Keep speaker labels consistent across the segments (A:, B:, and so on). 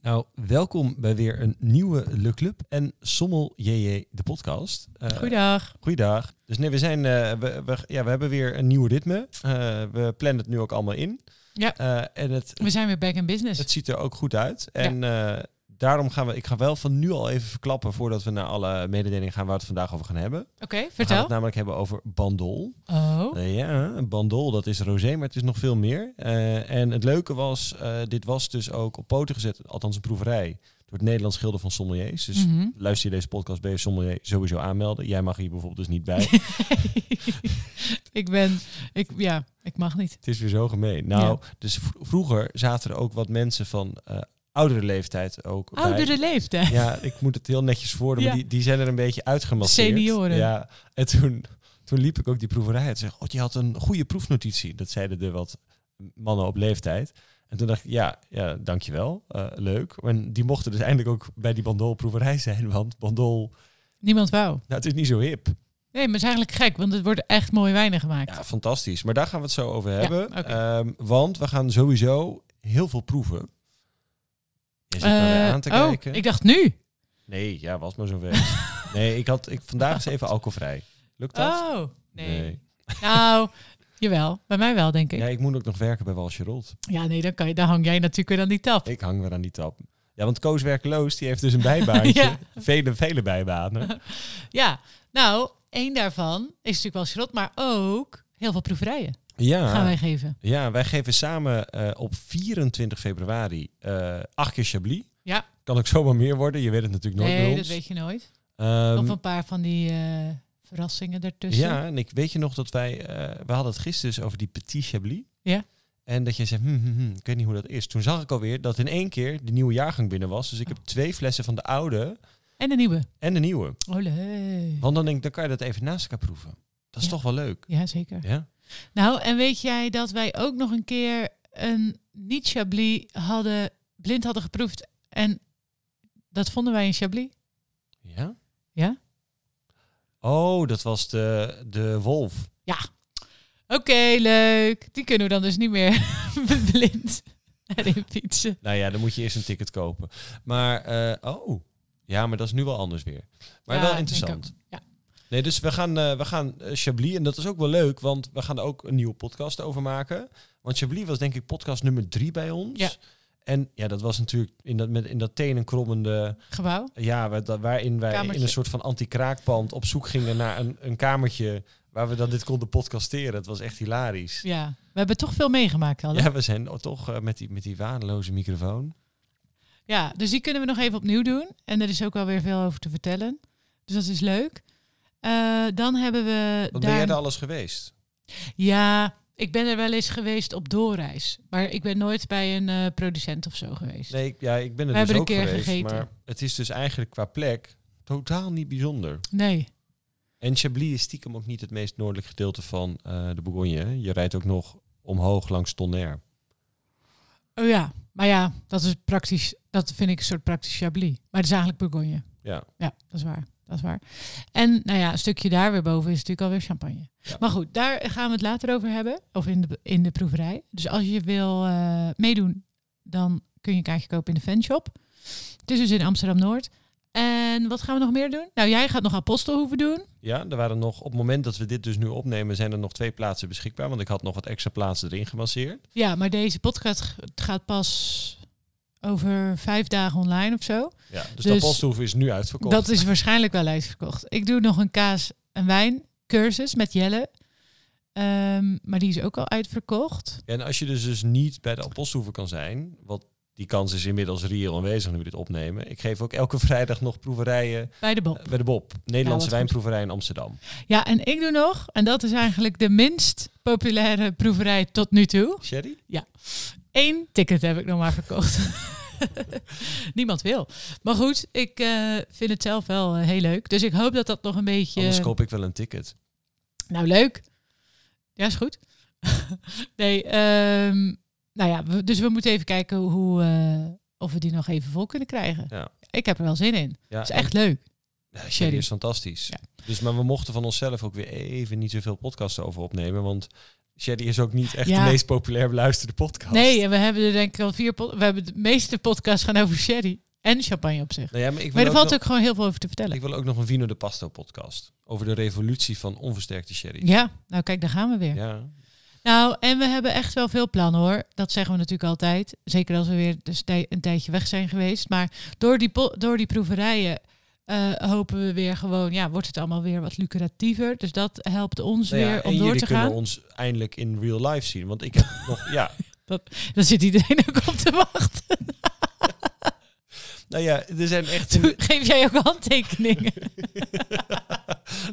A: Nou, welkom bij weer een nieuwe Le Club en Sommel JJ, de podcast. Eh,
B: Goeiedag.
A: goeiedag. Dus nee, we, zijn, eh, we, we- ja, we hebben weer een nieuw ritme. Eh, we plannen het nu ook allemaal in.
B: Ja.
A: Eh, en het,
B: We zijn weer back in business.
A: het ziet er ook goed uit. En eh, daarom gaan we, ik ga wel van nu al even verklappen voordat we naar alle mededelingen gaan waar we het vandaag over gaan hebben.
B: Oké,
A: We gaan
B: vertel.
A: het namelijk hebben over Bandol.
B: Oh,
A: Eh, ja, een bandol, dat is rosé, maar het is nog veel meer. Eh, en het leuke was, eh, dit was dus ook op poten gezet, althans een proeverij, door het Nederlands Schilder van Sommeliers. Dus
B: Mhm.
A: luister je deze podcast bij je sommelier sowieso aanmelden. Jij mag hier bijvoorbeeld dus niet bij.
B: ik ben, ik, ja, ik mag niet.
A: het is weer zo gemeen. Nou, dus v- vroeger zaten er ook wat mensen van eh, oudere leeftijd ook bij.
B: Oudere leeftijd.
A: Ja, ik moet het heel netjes worden, maar
B: Ja.
A: die, die zijn er een beetje uitgemasseerd.
B: Senioren.
A: Ja, en toen, toen liep ik ook die proeverij uit. Zeg, oh, je had een goede proefnotitie. Dat zeiden de wat mannen op leeftijd. En toen dacht ik, ja, ja dankjewel, eh, leuk. En die mochten dus eindelijk ook bij die bandolproeverij zijn, want bandol,
B: Niemand wou.
A: nou, het is niet zo hip.
B: Nee, maar het is eigenlijk gek, want het wordt echt mooi wijnen gemaakt.
A: Ja, fantastisch. Maar daar gaan we het zo over hebben.
B: oké.
A: Ehm, want we gaan sowieso heel veel proeven. Je zit me weer
B: Eh,
A: aan te
B: oh,
A: kijken.
B: ik dacht nu.
A: Nee, ja, was maar zover. nee, ik had ik, vandaag is even alcoholvrij. Lukt dat?
B: Oh, nee. Nou, jawel. Bij mij wel, denk ik.
A: Ja, ik moet ook nog werken bij Walsje Rolt.
B: Ja, nee, dan, kan je, dan hang jij natuurlijk weer aan die tap.
A: Ik hang weer aan die tap. Ja, want Koos werkloos, die heeft dus een bijbaantje.
B: Ja.
A: Vele, vele bijbanen.
B: Ja, nou, één daarvan is natuurlijk wel schrot, maar ook heel veel proeverijen gaan
A: Ja,
B: wij geven.
A: ja wij geven samen eh, op 24 februari eh acht keer Chablis.
B: Ja.
A: Kan ook zomaar meer worden. Je weet het natuurlijk nooit
B: nee,
A: bij
B: dat
A: ons.
B: weet je nooit.
A: Ehm,
B: of een paar van die eh, verrassingen ertussen.
A: Ja, en ik weet je nog dat wij... eh, we hadden het gisteren dus over die Petit Chablis.
B: Ja.
A: En dat jij zei, hmm, hmm, hmm, ik weet niet hoe dat is. Toen zag ik alweer dat in één keer de nieuwe jaargang binnen was. Dus ik
B: Oh.
A: heb twee flessen van de oude
B: En de nieuwe.
A: en de nieuwe.
B: Olé.
A: Want dan denk ik, dan kan je dat even naast elkaar proeven. Dat is
B: Ja.
A: toch wel leuk.
B: Ja, zeker.
A: Ja?
B: Nou, en weet jij dat wij ook nog een keer een niet Chablis hadden, blind hadden geproefd en dat vonden wij een Chablis?
A: Ja?
B: Ja.
A: Oh, dat was de, de wolf.
B: Oké, leuk. Die kunnen we dan dus niet meer blind erin fietsen.
A: Nou ja, dan moet je eerst een ticket kopen. Maar, eh, oh. Ja, maar dat is nu wel anders weer. Maar
B: Ja,
A: wel
B: ik denk
A: interessant.
B: ook. Ja.
A: Nee, dus we gaan, eh, we gaan eh, Chablis. En dat is ook wel leuk, want we gaan er ook een nieuwe podcast over maken. Want Chablis was denk ik podcast nummer drie bij ons.
B: Ja.
A: En ja, dat was natuurlijk in dat, met, in dat tenenkrommende...
B: Gebouw.
A: Ja, wa- da- waarin wij
B: Kamertje.
A: in een soort van anti-kraakpand op zoek gingen naar een, een kamertje waar we dan dit konden podcasteren. Het was echt hilarisch.
B: Ja. We hebben toch veel meegemaakt al. hè?
A: Ja, we zijn oh, toch eh, met, die, met die waardeloze microfoon.
B: Ja, dus die kunnen we nog even opnieuw doen. En er is ook wel weer veel over te vertellen. Dus dat is leuk. Eh, dan hebben we.
A: Wat ben
B: daar-
A: jij er alles geweest?
B: Ja, ik ben er wel eens geweest op doorreis. Maar ik ben nooit bij een eh, producent of zo geweest.
A: Nee, ik, ja, ik ben er
B: We
A: dus
B: hebben een
A: ook
B: keer
A: geweest.
B: gegeten.
A: Maar het is dus eigenlijk qua plek totaal niet bijzonder.
B: Nee.
A: En Chablis is stiekem ook niet het meest noordelijk gedeelte van eh, de Bourgogne. hè? Je rijdt ook nog omhoog langs Tonnerre.
B: Oh ja, maar ja, dat is praktisch. Dat vind ik een soort praktisch Chablis. Maar het is eigenlijk Bourgogne.
A: Ja.
B: Ja, dat is waar. Dat is waar. En nou ja, een stukje daar weer boven is natuurlijk alweer champagne.
A: Ja.
B: Maar goed, daar gaan we het later over hebben. Of in de, in de proeverij. Dus als je wil eh, meedoen, dan kun je een kaartje kopen in de fanshop. Het is dus in Amsterdam-Noord. En wat gaan we nog meer doen? Nou, jij gaat nog apostelhoeven doen.
A: Ja, er waren nog, op het moment dat we dit dus nu opnemen, zijn er nog twee plaatsen beschikbaar. Want ik had nog wat extra plaatsen erin gemasseerd.
B: Ja, maar deze podcast g- gaat pas over vijf dagen online of zo.
A: Ja, dus, de
B: Dus-
A: Apostolhoef is nu uitverkocht.
B: Dat is waarschijnlijk wel uitverkocht. Ik doe nog een kaas- en wijncursus met Jelle. Ehm, maar die is ook al uitverkocht.
A: En als je dus, dus niet bij de Apostolhoeven kan zijn, wat die kans is inmiddels reëel aanwezig nu we dit opnemen. Ik geef ook elke vrijdag nog proeverijen
B: Bij de
A: eh,
B: Bob.
A: bij de Bob. Nederlandse
B: goed.
A: wijnproeverij in Amsterdam.
B: Ja, en ik doe nog, en dat is eigenlijk de minst populaire proeverij tot nu toe.
A: Sherry?
B: Eén ticket heb ik nog maar verkocht. Niemand wil. Maar goed, ik eh, vind het zelf wel eh, heel leuk. Dus ik hoop dat dat nog een beetje...
A: Anders koop ik wel een ticket.
B: Nou, leuk. Ja, is goed. nee, ehm, nou ja, we- dus we moeten even kijken hoe, eh, of we die nog even vol kunnen krijgen.
A: Ja.
B: Ik heb er wel zin in. Het
A: Ja,
B: is echt leuk.
A: en- ja, Sherry
B: Sherry.
A: is fantastisch.
B: Ja.
A: Dus, maar we mochten van onszelf ook weer even niet zoveel podcasts over opnemen. Want Shady is ook niet echt
B: Ja.
A: de meest populair beluisterde podcast.
B: Nee, en we hebben er denk ik al vier... pod- We hebben de meeste podcasts gaan over sherry en champagne op zich.
A: Nou ja, maar ik wil,
B: Maar er
A: ook
B: valt
A: nog,
B: ook gewoon heel veel over te vertellen.
A: ik wil ook nog een Vino de Pasto podcast. Over de revolutie van onversterkte sherry.
B: Ja, nou kijk, daar gaan we weer.
A: Ja.
B: Nou, en we hebben echt wel veel plannen hoor. Dat zeggen we natuurlijk altijd. Zeker als we weer dus tij- een tijdje weg zijn geweest. Maar door die, po- door die proeverijen eh, hopen we weer gewoon... Ja, wordt het allemaal weer wat lucratiever. Dus dat helpt ons
A: Nou ja,
B: weer
A: en
B: om door
A: jullie
B: te
A: kunnen
B: gaan.
A: ons eindelijk in real life zien. Want ik heb nog, ja,
B: Daar zit iedereen ook op te wachten.
A: nou ja, er zijn echt...
B: Toen geef jij ook handtekeningen.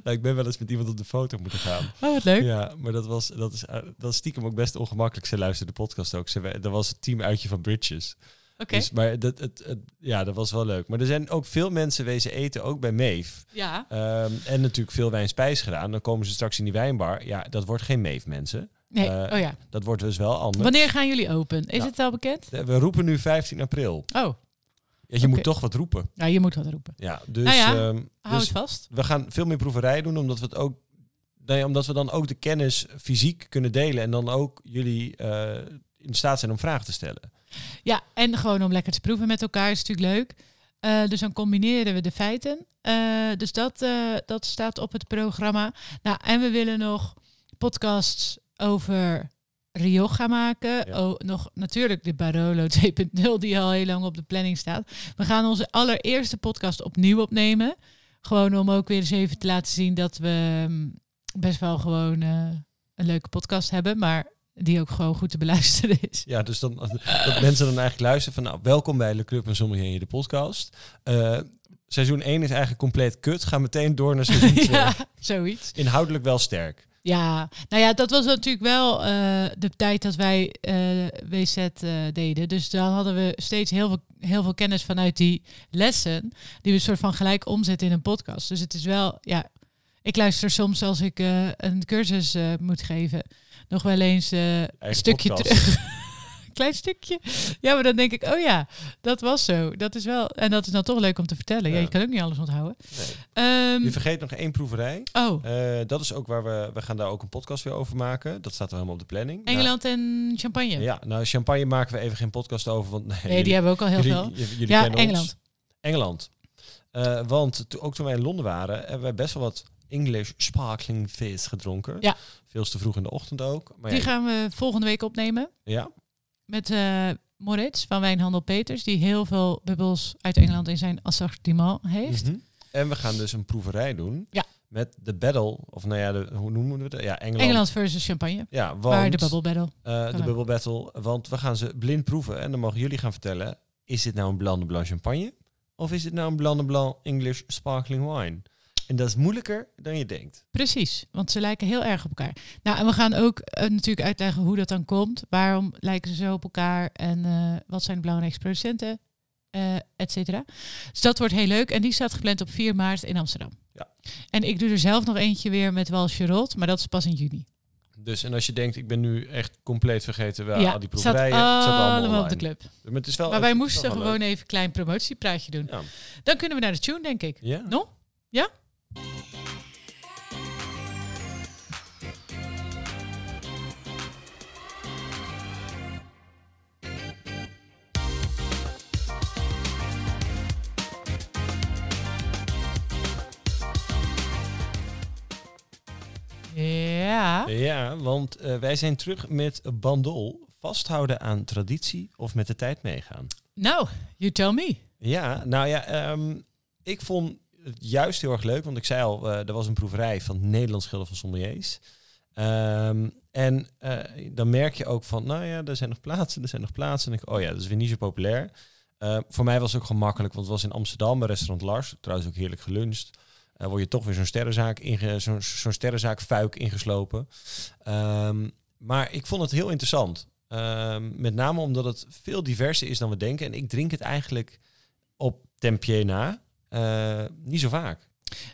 A: nou, ik ben wel eens met iemand op de foto moeten gaan.
B: Oh, wat leuk.
A: Ja, maar dat was, dat is, eh, dat is stiekem ook best ongemakkelijk. Ze luisterde de podcast ook. Ze, we- dat was het teamuitje van Bridges.
B: Oké.
A: Dus, maar dat, het, het- ja, dat was wel leuk. Maar er zijn ook veel mensen wezen eten, ook bij Meef.
B: Ja.
A: Ehm, en natuurlijk veel wijn spijs gedaan. Dan komen ze straks in die wijnbar. Ja, dat wordt geen Meef, mensen.
B: Nee,
A: Eh,
B: oh ja.
A: Dat wordt dus wel anders.
B: Wanneer gaan jullie open? Is
A: Ja.
B: het al bekend?
A: We roepen nu 15 april.
B: Oh,
A: Ja, je moet toch wat roepen.
B: nou, je moet wat roepen.
A: Ja, dus,
B: Nou ja,
A: ehm,
B: Hou
A: dus
B: het vast.
A: we gaan veel meer proeverijen doen, omdat we het ook. Nee, omdat we dan ook de kennis fysiek kunnen delen en dan ook jullie eh, in staat zijn om vragen te stellen.
B: Ja, en gewoon om lekker te proeven met elkaar is natuurlijk leuk. Eh, dus dan combineren we de feiten. Eh, dus dat, eh, dat staat op het programma. Nou, en we willen nog podcasts over Rioja maken.
A: Ja.
B: Oh, nog natuurlijk de Barolo 2.0 die al heel lang op de planning staat. We gaan onze allereerste podcast opnieuw opnemen. Gewoon om ook weer eens even te laten zien dat we mm, best wel gewoon eh, een leuke podcast hebben. Maar die ook gewoon goed te beluisteren is.
A: Ja, dus dan, dat mensen dan eigenlijk luisteren van, nou, welkom bij Le Club en Sommelier, de podcast. Eh, seizoen 1 is eigenlijk compleet kut. Ga meteen door naar seizoen 2.
B: ja, zoiets.
A: Inhoudelijk wel sterk.
B: Ja, nou ja, dat was natuurlijk wel eh, de tijd dat wij eh, WZ eh, deden. Dus dan hadden we steeds heel veel, heel veel kennis vanuit die lessen. Die we soort van gelijk omzetten in een podcast. Dus het is wel, ja, ik luister soms als ik eh, een cursus eh, moet geven. Nog wel eens eh, een
A: Eigen
B: stukje
A: podcast.
B: terug. Klein stukje. Ja, maar dan denk ik, oh ja, dat was zo. Dat is wel, en dat is dan toch leuk om te vertellen. Ja,
A: Ja.
B: je kan ook niet alles onthouden.
A: Nee.
B: Ehm,
A: Je vergeet nog één proeverij.
B: oh,
A: Eh, dat is ook waar we, we gaan daar ook een podcast weer over maken. Dat staat er helemaal op de planning. Nou,
B: Engeland en champagne.
A: ja, nou champagne maken we even geen podcast over, want nee,
B: Nee, die hebben we ook al heel
A: jullie, oh
B: veel.
A: j- jullie
B: Ja,
A: kennen ons.
B: Engeland.
A: Engeland. Eh, want to- ook toen wij in Londen waren, hebben wij best wel wat English sparkling fizz gedronken.
B: Ja.
A: Veel te vroeg in de ochtend ook. Maar
B: Die
A: ja,
B: gaan we volgende week opnemen
A: ja,
B: met eh Moritz van Wijnhandel Peters, die heel veel bubbels uit Engeland in zijn assortiment heeft.
A: mhm. En we gaan dus een proeverij doen.
B: Ja.
A: Met de battle, of nou ja, de, hoe noemen we het? Ja, Engeland.
B: Engeland versus champagne.
A: Ja, Mhm. want
B: Waar de bubble battle.
A: eh, de bubble battle. Want we gaan ze blind proeven en dan mogen jullie gaan vertellen: is dit nou een blanc de blanc champagne? Of is dit nou een blanc de blanc English sparkling wine? En dat is moeilijker dan je denkt.
B: Precies, want ze lijken heel erg op elkaar. Nou, en we gaan ook eh, natuurlijk uitleggen hoe dat dan komt. Waarom lijken ze zo op elkaar en eh, wat zijn de belangrijkste producenten, eh et cetera. Dus dat wordt heel leuk. En die staat gepland op 4 maart in Amsterdam.
A: Ja.
B: En ik doe er zelf nog eentje weer met Wal Charlotte, maar dat is pas in juni.
A: Dus en als je denkt, ik ben nu echt compleet vergeten waar al die
B: het staat
A: proeverijen, het staat allemaal,
B: allemaal op de
A: online.
B: club.
A: Maar, het is wel,
B: Maar wij
A: het is
B: moesten
A: wel
B: gewoon even een klein promotiepraatje doen.
A: leuk. Ja.
B: Dan kunnen we naar de tune, denk ik.
A: Ja.
B: Nog? Ja? Ja.
A: Ja, want eh, wij zijn terug met Bandol. Vasthouden aan traditie of met de tijd meegaan.
B: Nou, you tell me.
A: Ja, nou ja, ehm, ik vond het juist heel erg leuk. Want ik zei al, eh, er was een proeverij van het Nederlands Schilder van Sommeliers. Ehm, en eh, dan merk je ook van, nou ja, er zijn nog plaatsen, er zijn nog plaatsen. En ik, oh ja, dat is weer niet zo populair. Eh, voor mij was het ook gemakkelijk, want het was in Amsterdam bij restaurant Lars. Trouwens ook heerlijk geluncht. Eh word je toch weer zo'n sterrenzaak, inge- zo'n zo'n sterrenzaak fuik ingeslopen. Ehm, maar ik vond het heel interessant. Ehm, met name omdat het veel diverser is dan we denken. En ik drink het eigenlijk op tempje na. eh, niet zo vaak.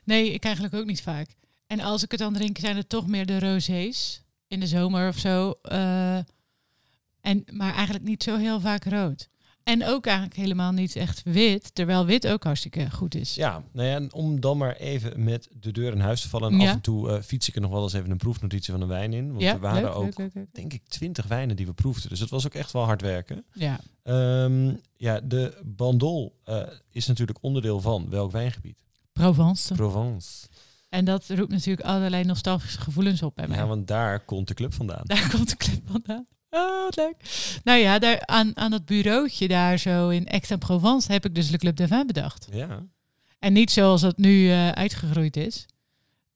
B: Nee, ik eigenlijk ook niet vaak. En als ik het dan drink, zijn het toch meer de rosés in de zomer of zo. eh, en, maar eigenlijk niet zo heel vaak rood. En ook eigenlijk helemaal niet echt wit, terwijl wit ook hartstikke goed is.
A: Ja, nou ja, en om dan maar even met de deur in huis te vallen. En
B: Ja.
A: af en toe eh, fiets ik er nog wel eens even een proefnotitie van een wijn in. Want
B: Ja,
A: er waren
B: leuk,
A: ook,
B: leuk, leuk, leuk.
A: denk ik, twintig wijnen die we proefden. Dus het was ook echt wel hard werken.
B: Ja,
A: Ehm, ja, de bandol eh, is natuurlijk onderdeel van welk wijngebied?
B: Provence.
A: Provence.
B: En dat roept natuurlijk allerlei nostalgische gevoelens op bij mij.
A: Ja, want daar komt de club vandaan.
B: Daar komt de clip vandaan. Oh, wat leuk. Nou ja, daar, aan, aan dat bureautje daar zo in Aix-en-Provence heb ik dus de Club de Vin bedacht.
A: Ja,
B: En niet zoals dat nu eh, uitgegroeid is.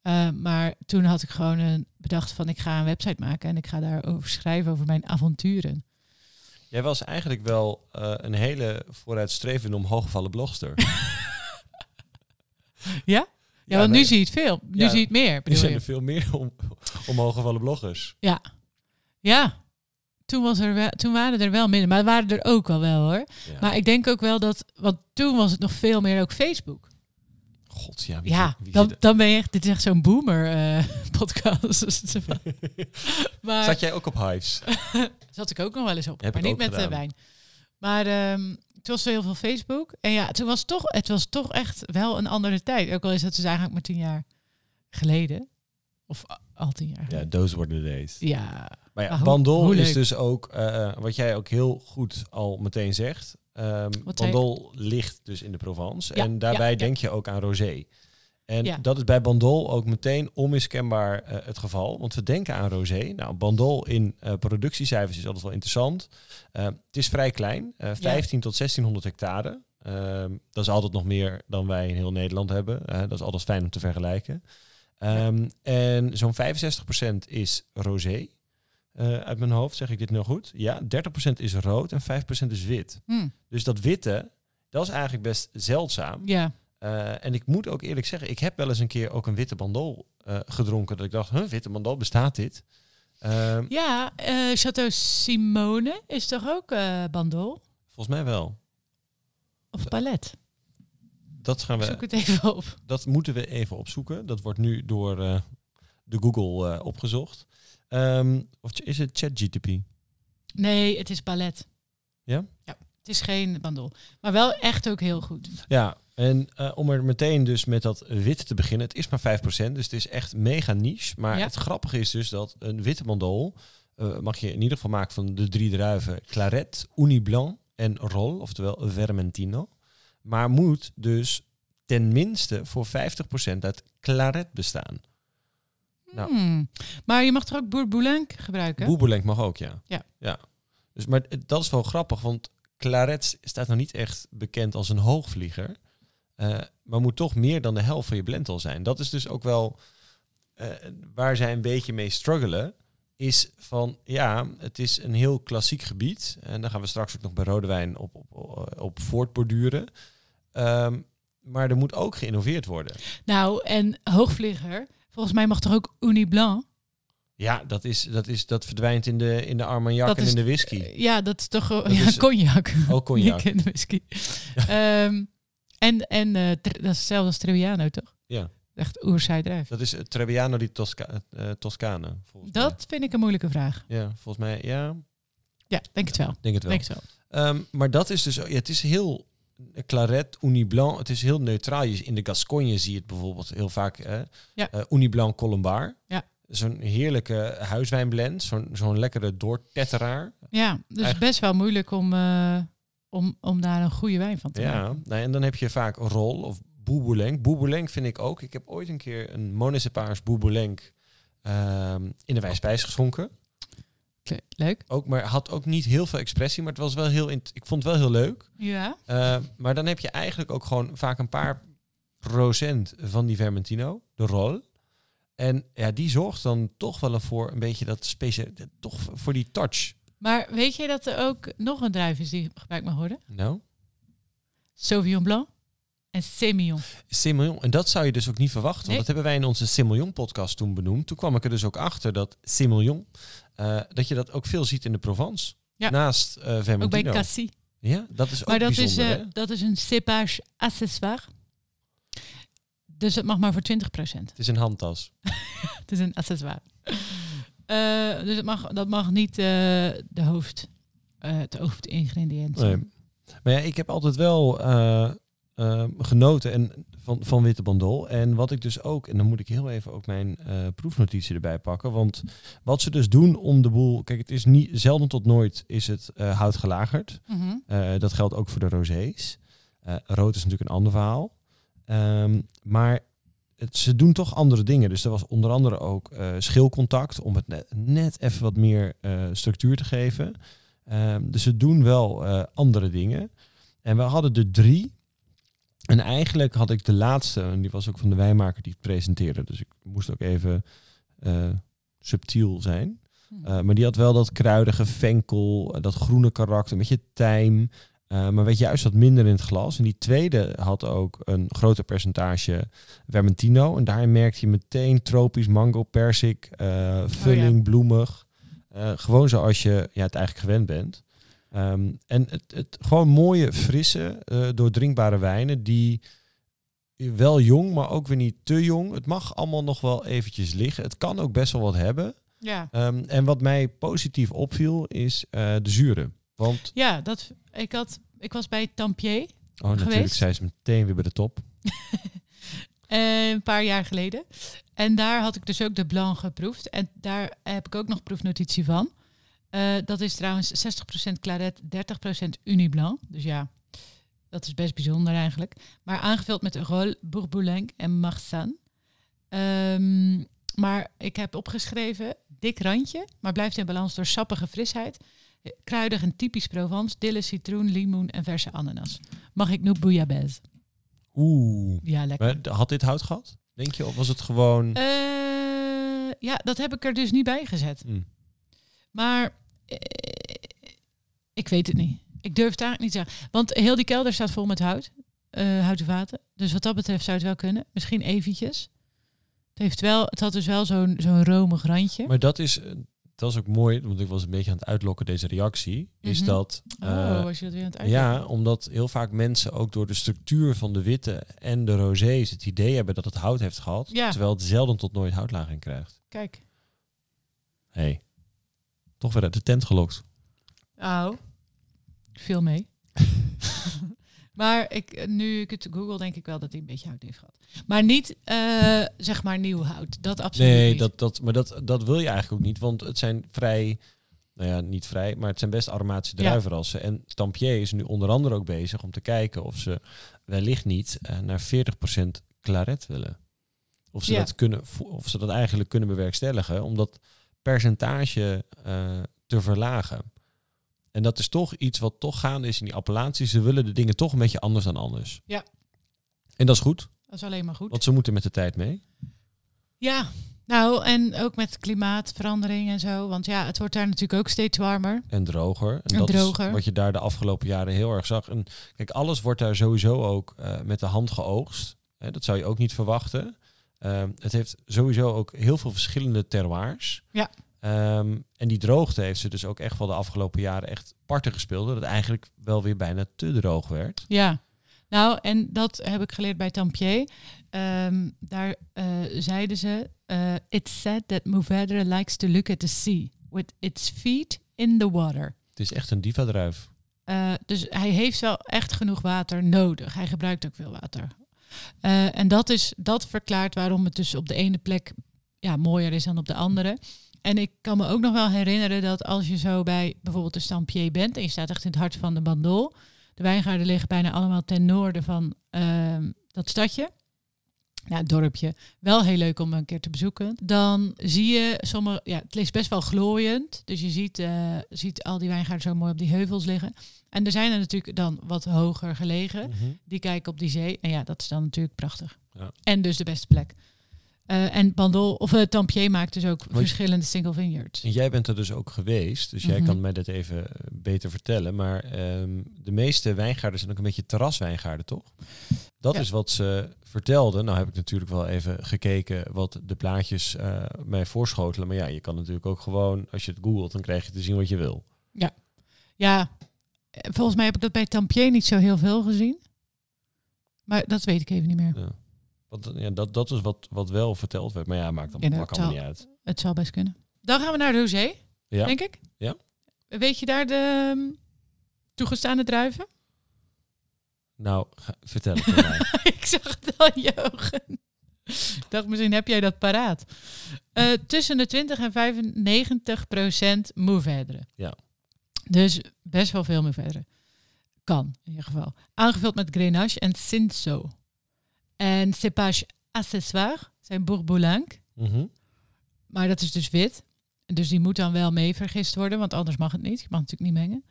B: Eh, maar toen had ik gewoon een, bedacht van ik ga een website maken en ik ga daarover schrijven over mijn avonturen.
A: jij was eigenlijk wel eh, een hele vooruitstrevende omhooggevallen blogster.
B: Ja, want nu zie je het veel. Nu
A: Ja,
B: zie je het meer,
A: nu
B: bedoel
A: zijn
B: je.
A: er veel meer om, omhooggevallen bloggers.
B: Ja, toen, was er wel, toen waren er wel minder, maar waren er ook al wel hoor.
A: Ja.
B: Maar ik denk ook wel dat, want toen was het nog veel meer ook Facebook.
A: God, ja. Wie
B: Ja,
A: zit- wie
B: dan,
A: zit-
B: dan ben je echt, dit is echt zo'n boomer eh, podcast. Dus het is wel- maar
A: Zat jij ook op Hives?
B: zat ik ook nog wel eens op,
A: Heb
B: maar
A: ik
B: niet
A: ook
B: met eh,
A: gedaan.
B: wijn. Maar ehm toen was er heel veel Facebook. En ja, toen was toch, het was toch echt wel een andere tijd. Ook al is dat dus eigenlijk maar tien jaar geleden. Of a- al tien jaar
A: Ja,
B: geleden.
A: those were the days.
B: Ja,
A: Maar ja,
B: Maar hoe-
A: Bandol
B: hoe
A: is
B: leuk.
A: dus ook, eh, wat jij ook heel goed al meteen zegt. ehm,
B: Wat zei ik?
A: Bandol ligt dus in de Provence.
B: Ja,
A: en daarbij
B: ja, ja.
A: denk je ook aan rosé. En
B: Ja.
A: dat is bij Bandol ook meteen onmiskenbaar eh, het geval. Want we denken aan rosé. Nou, Bandol in eh, productiecijfers is altijd wel interessant. Eh, het is vrij klein, eh, 15 tot 1600 hectare. Ehm, dat is altijd nog meer dan wij in heel Nederland hebben. Eh, dat is altijd fijn om te vergelijken. Ehm, En zo'n 65% is rosé. Eh, uit mijn hoofd zeg ik dit nou goed. Ja, 30% is rood en 5% is wit.
B: Hm,
A: Dus dat witte, dat is eigenlijk best zeldzaam.
B: ja.
A: Eh, en ik moet ook eerlijk zeggen, ik heb wel eens een keer ook een witte bandol eh, gedronken. Dat ik dacht, huh, witte bandol, bestaat dit? Ehm,
B: ja eh, Chateau Simone is toch ook eh, bandol?
A: Volgens mij wel.
B: Of palet?
A: Dat, gaan
B: Ik
A: we,
B: zoek het even op.
A: dat moeten we even opzoeken. Dat wordt nu door eh, de Google eh, opgezocht. Ehm, of is het ChatGTP?
B: Nee, het is ballet.
A: Ja?
B: Ja, het is geen bandol. Maar wel echt ook heel goed.
A: Ja, en eh, om er meteen dus met dat wit te beginnen. Het is maar 5%, dus het is echt mega niche. Maar
B: Ja.
A: het grappige is dus dat een witte mandol... eh, mag je in ieder geval maken van de drie druiven... Claret, Uni Blanc en Rol, oftewel Vermentino. Maar moet dus tenminste voor 50% uit Claret bestaan. Nou.
B: Hmm. Maar je mag toch ook bourboulin gebruiken?
A: Boebelenk mag ook, ja.
B: Ja.
A: ja. Dus, maar het- dat is wel grappig, want Claret staat nog niet echt bekend als een hoogvlieger. eh, maar moet toch meer dan de helft van je blend al zijn. Dat is dus ook wel eh, waar zij een beetje mee struggelen. Is van ja, het is een heel klassiek gebied. En daar gaan we straks ook nog bij rode wijn op, op, eh, op voortborduren. Ehm, maar er moet ook geïnnoveerd worden.
B: Nou, en hoogvlieger. Volgens mij mag toch ook Uni Blanc?
A: Ja, dat, is, dat, is, dat verdwijnt in de, in de Armagnac
B: Dat
A: en
B: is-
A: in de whisky.
B: Eh, Ja, dat is toch... eh,
A: Dat
B: ja,
A: is-
B: cognac.
A: ook cognac.
B: Ik ken whisky. Ehm, en en eh, tr- dat is hetzelfde als Trebbiano, toch?
A: Ja.
B: Echt oerzijdrijf.
A: Dat is eh, Trebbiano di Tosca eh, Toscane. Volgens
B: Dat vind ik een moeilijke vraag.
A: Mij. Ja, volgens mij, ja,
B: Ja, denk het wel.
A: denk het wel.
B: Denk het wel.
A: Ehm, maar dat is dus, ja, het is heel eh, claret, uni blanc, het is heel neutraal. Je- In de Gascogne zie je het bijvoorbeeld heel vaak, hè?
B: Ja.
A: Eh, uni blanc colombard.
B: Ja.
A: Zo'n heerlijke huiswijnblend, zo'n zo'n lekkere doortetteraar.
B: Ja, dus
A: Eigen-
B: best wel moeilijk om, eh, om, om daar een goede wijn van te maken.
A: Ja, nou, en dan heb je vaak rol of boebolenk. Boebolenk vind ik ook. Ik heb ooit een keer een Monissepaars boebolenk ehm, in de wijspijs geschonken.
B: Kle- Leuk.
A: Ook, maar had ook niet heel veel expressie, maar het was wel heel. int- Ik vond het wel heel leuk.
B: Ja.
A: Eh, maar dan heb je eigenlijk ook gewoon vaak een paar procent van die Vermentino, de rol. En ja, die zorgt dan toch wel voor een beetje dat specia- toch voor die touch.
B: Maar weet je dat er ook nog een druif is die gebruikt mag worden?
A: Nou,
B: Sauvignon Blanc en Semillon.
A: Semillon. En dat zou je dus ook niet verwachten, want
B: Nee.
A: dat hebben wij in onze Semillon podcast toen benoemd. Toen kwam ik er dus ook achter dat Semillon, eh, dat je dat ook veel ziet in de Provence.
B: Ja.
A: Naast eh Vermentino.
B: Ook bij Cassis.
A: Ja, dat is ook
B: Maar dat is,
A: bijzonder.
B: eh,
A: hè?
B: dat is een cépage accessoire. Dus dat mag maar voor 20%.
A: Het is een handtas.
B: Het is een accessoire. Eh, dus het mag, dat mag niet eh, de hoofd, eh het hoofdingrediënt.
A: Nee.
B: zijn.
A: Maar ja, ik heb altijd wel eh, eh, genoten en van, van Witte Bandol. En wat ik dus ook, en dan moet ik heel even ook mijn eh, proefnotitie erbij pakken. Want wat ze dus doen om de boel. Kijk, het is niet zelden tot nooit is het eh, hout gelagerd.
B: Mhm.
A: Eh, dat geldt ook voor de rosés. Eh, rood is natuurlijk een ander verhaal. Ehm, maar het, ze doen toch andere dingen. Dus er was onder andere ook eh, schilcontact om het net, net even wat meer eh, structuur te geven. Ehm, dus ze doen wel eh, andere dingen. En we hadden er drie. En eigenlijk had ik de laatste, en die was ook van de wijnmaker die het presenteerde. Dus ik moest ook even eh, subtiel zijn. Uh, maar die had wel dat kruidige venkel, eh, dat groene karakter, een beetje tijm. eh, maar werd juist wat minder in het glas. En die tweede had ook een groter percentage Vermentino. En daarin merkte je meteen tropisch, mango, persik, eh, vulling, bloemig. Eh, gewoon zoals je ja, het eigenlijk gewend bent. Ehm, en het, het gewoon mooie, frisse, eh, doordrinkbare wijnen die wel jong, maar ook weer niet te jong. Het mag allemaal nog wel eventjes liggen. Het kan ook best wel wat hebben.
B: ja.
A: Ehm, en wat mij positief opviel is eh, de zuren. Want,
B: ja, dat, ik, had, ik was bij Tampier
A: oh natuurlijk
B: Geweest?
A: zijn ze meteen weer bij de top.
B: eh, een paar jaar geleden. En daar had ik dus ook de Blanc geproefd. En daar heb ik ook nog proefnotitie van. Eh, dat is trouwens 60% claret, 30% uniblanc. Dus ja, dat is best bijzonder eigenlijk. Maar aangevuld met Rol, Bourboulenc en Marsan. Ehm, maar ik heb opgeschreven, dik randje, maar blijft in balans door sappige frisheid. eh, Kruidig en typisch Provence, dille, citroen, limoen en verse ananas. Mag ik nu bouillabaisse?
A: Oeh.
B: Ja, lekker.
A: Maar d- had dit hout gehad? Denk je? Of was het gewoon...
B: Eh, ja, dat heb ik er dus niet bij gezet.
A: Mm.
B: Maar eh, ik weet het niet. Ik durf het eigenlijk niet te zeggen. Want heel die kelder staat vol met hout. eh, houten vaten. Dus wat dat betreft zou het wel kunnen. Misschien eventjes. Het, heeft wel, het had dus wel zo'n zo'n romig randje.
A: Maar dat is, eh, dat is ook mooi, want ik was een beetje aan het uitlokken deze reactie. Is
B: Mhm.
A: dat... eh,
B: oh, als je dat weer aan het uitleggen.
A: ja, omdat heel vaak mensen ook door de structuur van de witte en de rosés het idee hebben dat het hout heeft gehad.
B: Ja.
A: Terwijl het zelden tot nooit houtlaag in krijgt.
B: Kijk.
A: Hé, hey. toch weer uit de tent gelokt.
B: Au. Veel mee. maar ik, nu ik het google, denk ik wel dat hij een beetje hout heeft gehad. Maar niet, eh, zeg maar, nieuw hout. Dat absoluut
A: Nee,
B: niet.
A: dat, dat, maar dat, dat wil je eigenlijk ook niet. Want het zijn vrij, nou ja, niet vrij, maar het zijn best aromatische
B: Ja.
A: druivenrassen. En Tampier is nu onder andere ook bezig om te kijken of ze wellicht niet eh, naar 40% claret willen. Of ze,
B: Ja.
A: dat kunnen, vo- of ze dat eigenlijk kunnen bewerkstelligen om dat percentage eh, te verlagen. En dat is toch iets wat toch gaande is in die appellaties. Ze willen de dingen toch een beetje anders dan anders.
B: Ja.
A: En dat is goed,
B: Dat is alleen maar goed.
A: want ze moeten met de tijd mee.
B: Ja, nou en ook met klimaatverandering en zo. Want ja, het wordt daar natuurlijk ook steeds warmer.
A: En droger. En,
B: En
A: dat is
B: droger.
A: wat je daar de afgelopen jaren heel erg zag. En kijk, alles wordt daar sowieso ook eh, met de hand geoogst. Hè, dat zou je ook niet verwachten. Ehm, het heeft sowieso ook heel veel verschillende terroirs.
B: Ja.
A: Ehm, en die droogte heeft ze dus ook echt wel de afgelopen jaren echt parten gespeeld. Dat het eigenlijk wel weer bijna te droog werd.
B: Ja. Nou, en dat heb ik geleerd bij Tampier. Ehm, daar eh, zeiden ze... eh it's said that Mourvedre likes to look at the sea... with its feet in the water.
A: Het is echt een diva-druif.
B: Eh, dus hij heeft wel echt genoeg water nodig. Hij gebruikt ook veel water. Eh, en dat, is, dat verklaart waarom het dus op de ene plek ja, mooier is dan op de andere. En ik kan me ook nog wel herinneren dat als je zo bij bijvoorbeeld de Stampier bent... en je staat echt in het hart van de Bandol... de wijngaarden liggen bijna allemaal ten noorden van ehm, dat stadje... Nou, het dorpje, wel heel leuk om een keer te bezoeken. Dan zie je sommige, ja, het is best wel glooiend. Dus je ziet, eh, ziet al die wijngaarden zo mooi op die heuvels liggen. En er zijn er natuurlijk dan wat hoger gelegen. Die kijken op die zee. En ja, dat is dan natuurlijk prachtig.
A: Ja.
B: En dus de beste plek. Eh, en Bandol, of eh, Tampier maakt dus ook
A: je-
B: verschillende single vineyards.
A: En jij bent er dus ook geweest, dus jij
B: Mhm.
A: kan mij dat even eh, beter vertellen. Maar ehm, de meeste wijngaarden zijn ook een beetje terraswijngaarden, toch? Dat
B: Ja.
A: is wat ze vertelden. Nou heb ik natuurlijk wel even gekeken wat de plaatjes eh, mij voorschotelen. Maar ja, je kan natuurlijk ook gewoon, als je het googelt, dan krijg je te zien wat je wil.
B: Ja, eh, volgens mij heb ik dat bij Tampier niet zo heel veel gezien. Maar dat weet ik even niet meer.
A: Ja. Want, eh, ja, dat, dat is wat, wat wel verteld werd. Maar ja, maakt dan
B: Ja, nou,
A: plak allemaal niet uit.
B: Het zal best kunnen. Dan gaan we naar de Rosé,
A: Ja.
B: denk ik.
A: Ja.
B: Weet je daar de ehm, toegestaande druiven?
A: Nou, ga- vertel het me maar.
B: ik zag het al in je ogen. Ik dacht, misschien heb jij dat paraat. Eh, tussen de 20 en 95 procent moeveerderen.
A: Ja.
B: Dus best wel veel moeveerderen. Kan, in ieder geval. Aangevuld met Grenache en Cinso. En Cepage Accessoire zijn Bourboulanc.
A: Mhm.
B: Maar dat is dus wit. Dus die moet dan wel mee vergist worden, want anders mag het niet. Je mag natuurlijk niet mengen.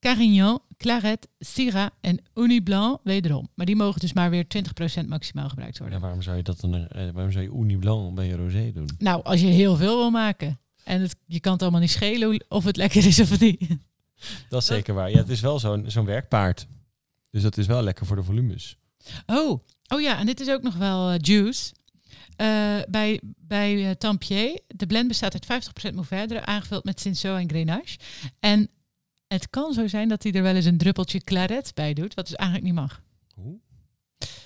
B: Carignan, Claret, Syrah en Uni Blanc wederom. Maar die mogen dus maar weer 20% maximaal gebruikt worden.
A: Ja, waarom zou je dat dan? eh, waarom zou je Ouni Blanc bij je rosé doen?
B: Nou, als je heel veel wil maken. En het, je kan het allemaal niet schelen hoe- of het lekker is of niet.
A: Dat is zeker waar. Ja, het is wel zo'n zo'n werkpaard. Dus dat is wel lekker voor de volumes.
B: Oh, oh ja, en dit is ook nog wel eh, juice. Eh, bij bij eh, Tampier, de blend bestaat uit 50% Mourvèdre, aangevuld met Cinsault en Grenache. En het kan zo zijn dat hij er wel eens een druppeltje claret bij doet, wat dus eigenlijk niet mag.
A: Oeh.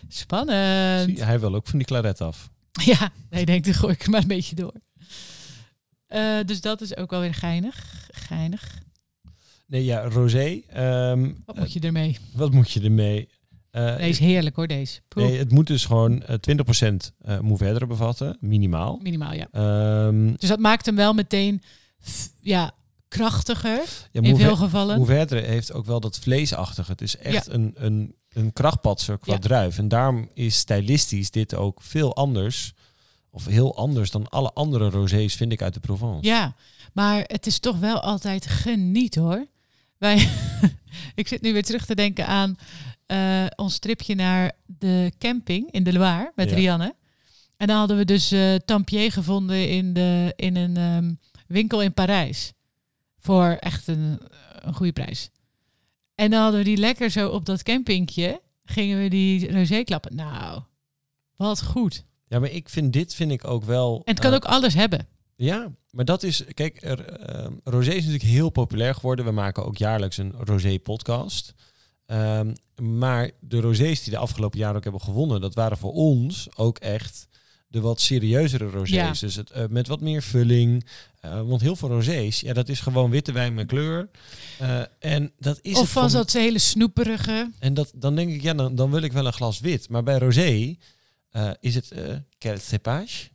B: Spannend.
A: Zie je, hij wil ook van die claret af.
B: Ja, hij denkt, dan gooi ik er maar een beetje door. Eh, dus dat is ook wel weer geinig. Geinig.
A: Nee, ja, rosé. ehm,
B: Wat moet je ermee?
A: eh, wat moet je ermee? Eh,
B: Deze is heerlijk hoor, deze. Poeh.
A: nee, het moet dus gewoon eh, 20% eh moevedre bevatten, minimaal.
B: Minimaal, ja.
A: Ehm
B: Dus dat maakt hem wel meteen f- ja, krachtiger
A: ja,
B: in
A: moeve-
B: veel gevallen.
A: moevedre heeft ook wel dat vleesachtige. Het is echt een, een, een krachtpatser qua
B: Ja.
A: druif. En daarom is stylistisch dit ook veel anders. Of heel anders dan alle andere rosés, vind ik, uit de Provence.
B: Ja, maar het is toch wel altijd geniet hoor. Wij, ik zit nu weer terug te denken aan eh, ons tripje naar de camping in de Loire met
A: Ja.
B: Rianne. En dan hadden we dus eh Tampier gevonden in, de, in een ehm, winkel in Parijs. Voor echt een, een goede prijs. En dan hadden we die lekker zo op dat campingje. Gingen we die rosé klappen. Nou, wat goed.
A: Ja, maar ik vind dit vind ik ook wel.
B: En het kan
A: eh,
B: ook alles hebben.
A: Ja, maar dat is. Kijk, er, ehm, rosé is natuurlijk heel populair geworden. We maken ook jaarlijks een rosé-podcast. Ehm, maar de rosés die de afgelopen jaren ook hebben gewonnen, dat waren voor ons ook echt de wat serieuzere rosés.
B: Ja.
A: Dus het, eh, met wat meer vulling. Eh, want heel veel rosés, ja, dat is gewoon witte wijn met kleur. Eh, en dat is het
B: Of van
A: voor-
B: dat hele snoeperige.
A: en dat, dan denk ik, ja, dan, dan wil ik wel een glas wit. Maar bij rosé eh, is het eh quel cépage.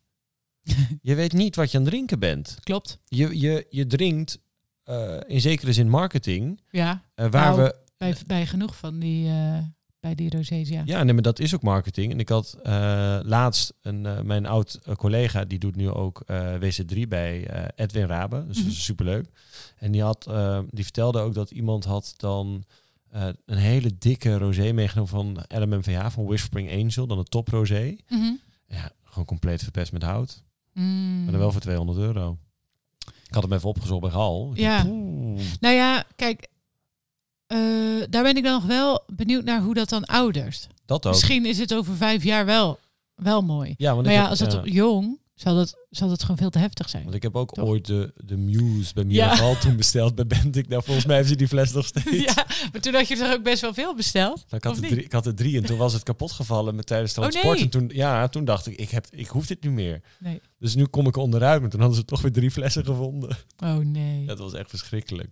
A: je weet niet wat je aan het drinken bent.
B: Klopt.
A: Je, je, je drinkt eh, in zekere zin marketing.
B: Ja,
A: eh, waar
B: Nou.
A: we,
B: bij, bij genoeg van die, eh, bij die rosés, ja.
A: ja, nee, maar dat is ook marketing. En ik had eh, laatst een, eh, mijn oud eh, collega, die doet nu ook eh, WC3 bij eh, Edwin Rabe. Dus dat
B: Mhm.
A: is superleuk. En die, had, eh, die vertelde ook dat iemand had dan eh, een hele dikke rosé meegenomen van LMMVH, van Whispering Angel, dan een top rosé.
B: Mhm.
A: Ja, gewoon compleet verpest met hout.
B: Mm.
A: Maar dan wel voor 200 euro. Ik had hem even opgezocht bij Gal. Ik
B: Ja.
A: dacht, "Oeh."
B: Nou ja, kijk, eh, daar ben ik dan nog wel benieuwd naar hoe dat dan oudert.
A: Dat ook.
B: Misschien is het over vijf jaar wel, wel mooi.
A: Ja, want
B: Maar
A: ik
B: ja,
A: heb- eh,
B: als dat
A: ja.
B: jong, zal dat, zal dat gewoon veel te heftig zijn.
A: Want ik heb ook
B: Toch?
A: ooit de, de Muse bij Miraval toen besteld bij Bendik. Nou, volgens mij heeft ze die fles nog steeds. Nou,
B: Ja, maar toen had je er ook best wel veel besteld.
A: Ik,
B: Of
A: had er
B: niet?
A: drie, ik had er drie en toen was het kapot gevallen met, tijdens
B: Oh, nee.
A: transport. En toen, ja, toen dacht ik, ik, heb, ik hoef dit niet meer.
B: Nee.
A: Dus nu kom ik er onderuit, maar toen hadden ze toch weer drie flessen gevonden.
B: Oh nee.
A: Dat was echt verschrikkelijk.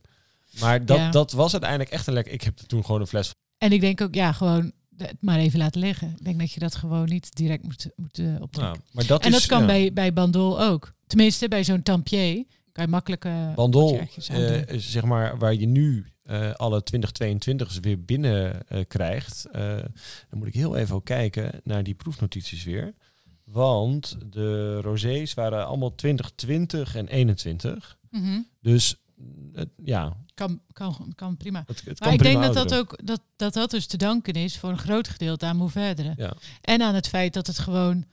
A: Maar dat,
B: Ja.
A: dat was uiteindelijk echt een lekker... Ik heb er toen gewoon een fles
B: En ik denk ook, ja, gewoon het maar even laten liggen. Ik denk dat je dat gewoon niet direct moet, moet eh, opdrinken.
A: Nou, maar dat
B: en
A: is,
B: dat kan
A: ja.
B: bij, bij Bandol ook. Tenminste, bij zo'n tampier kan je makkelijk... eh,
A: Bandol,
B: portiertjes aan doen.
A: eh, zeg maar, waar je nu eh, alle 2022's weer binnen eh, krijgt. eh, dan moet ik heel even ook kijken naar die proefnotities weer. Want de rosés waren allemaal 2020 en 21.
B: Mhm.
A: Dus het, ja,
B: kan, kan, kan prima.
A: het, het kan
B: Maar ik
A: prima
B: denk dat dat
A: ouderen.
B: ook dat, dat dat dus te danken is voor een groot gedeelte aan Moeverdere.
A: Ja.
B: En aan het feit dat het gewoon,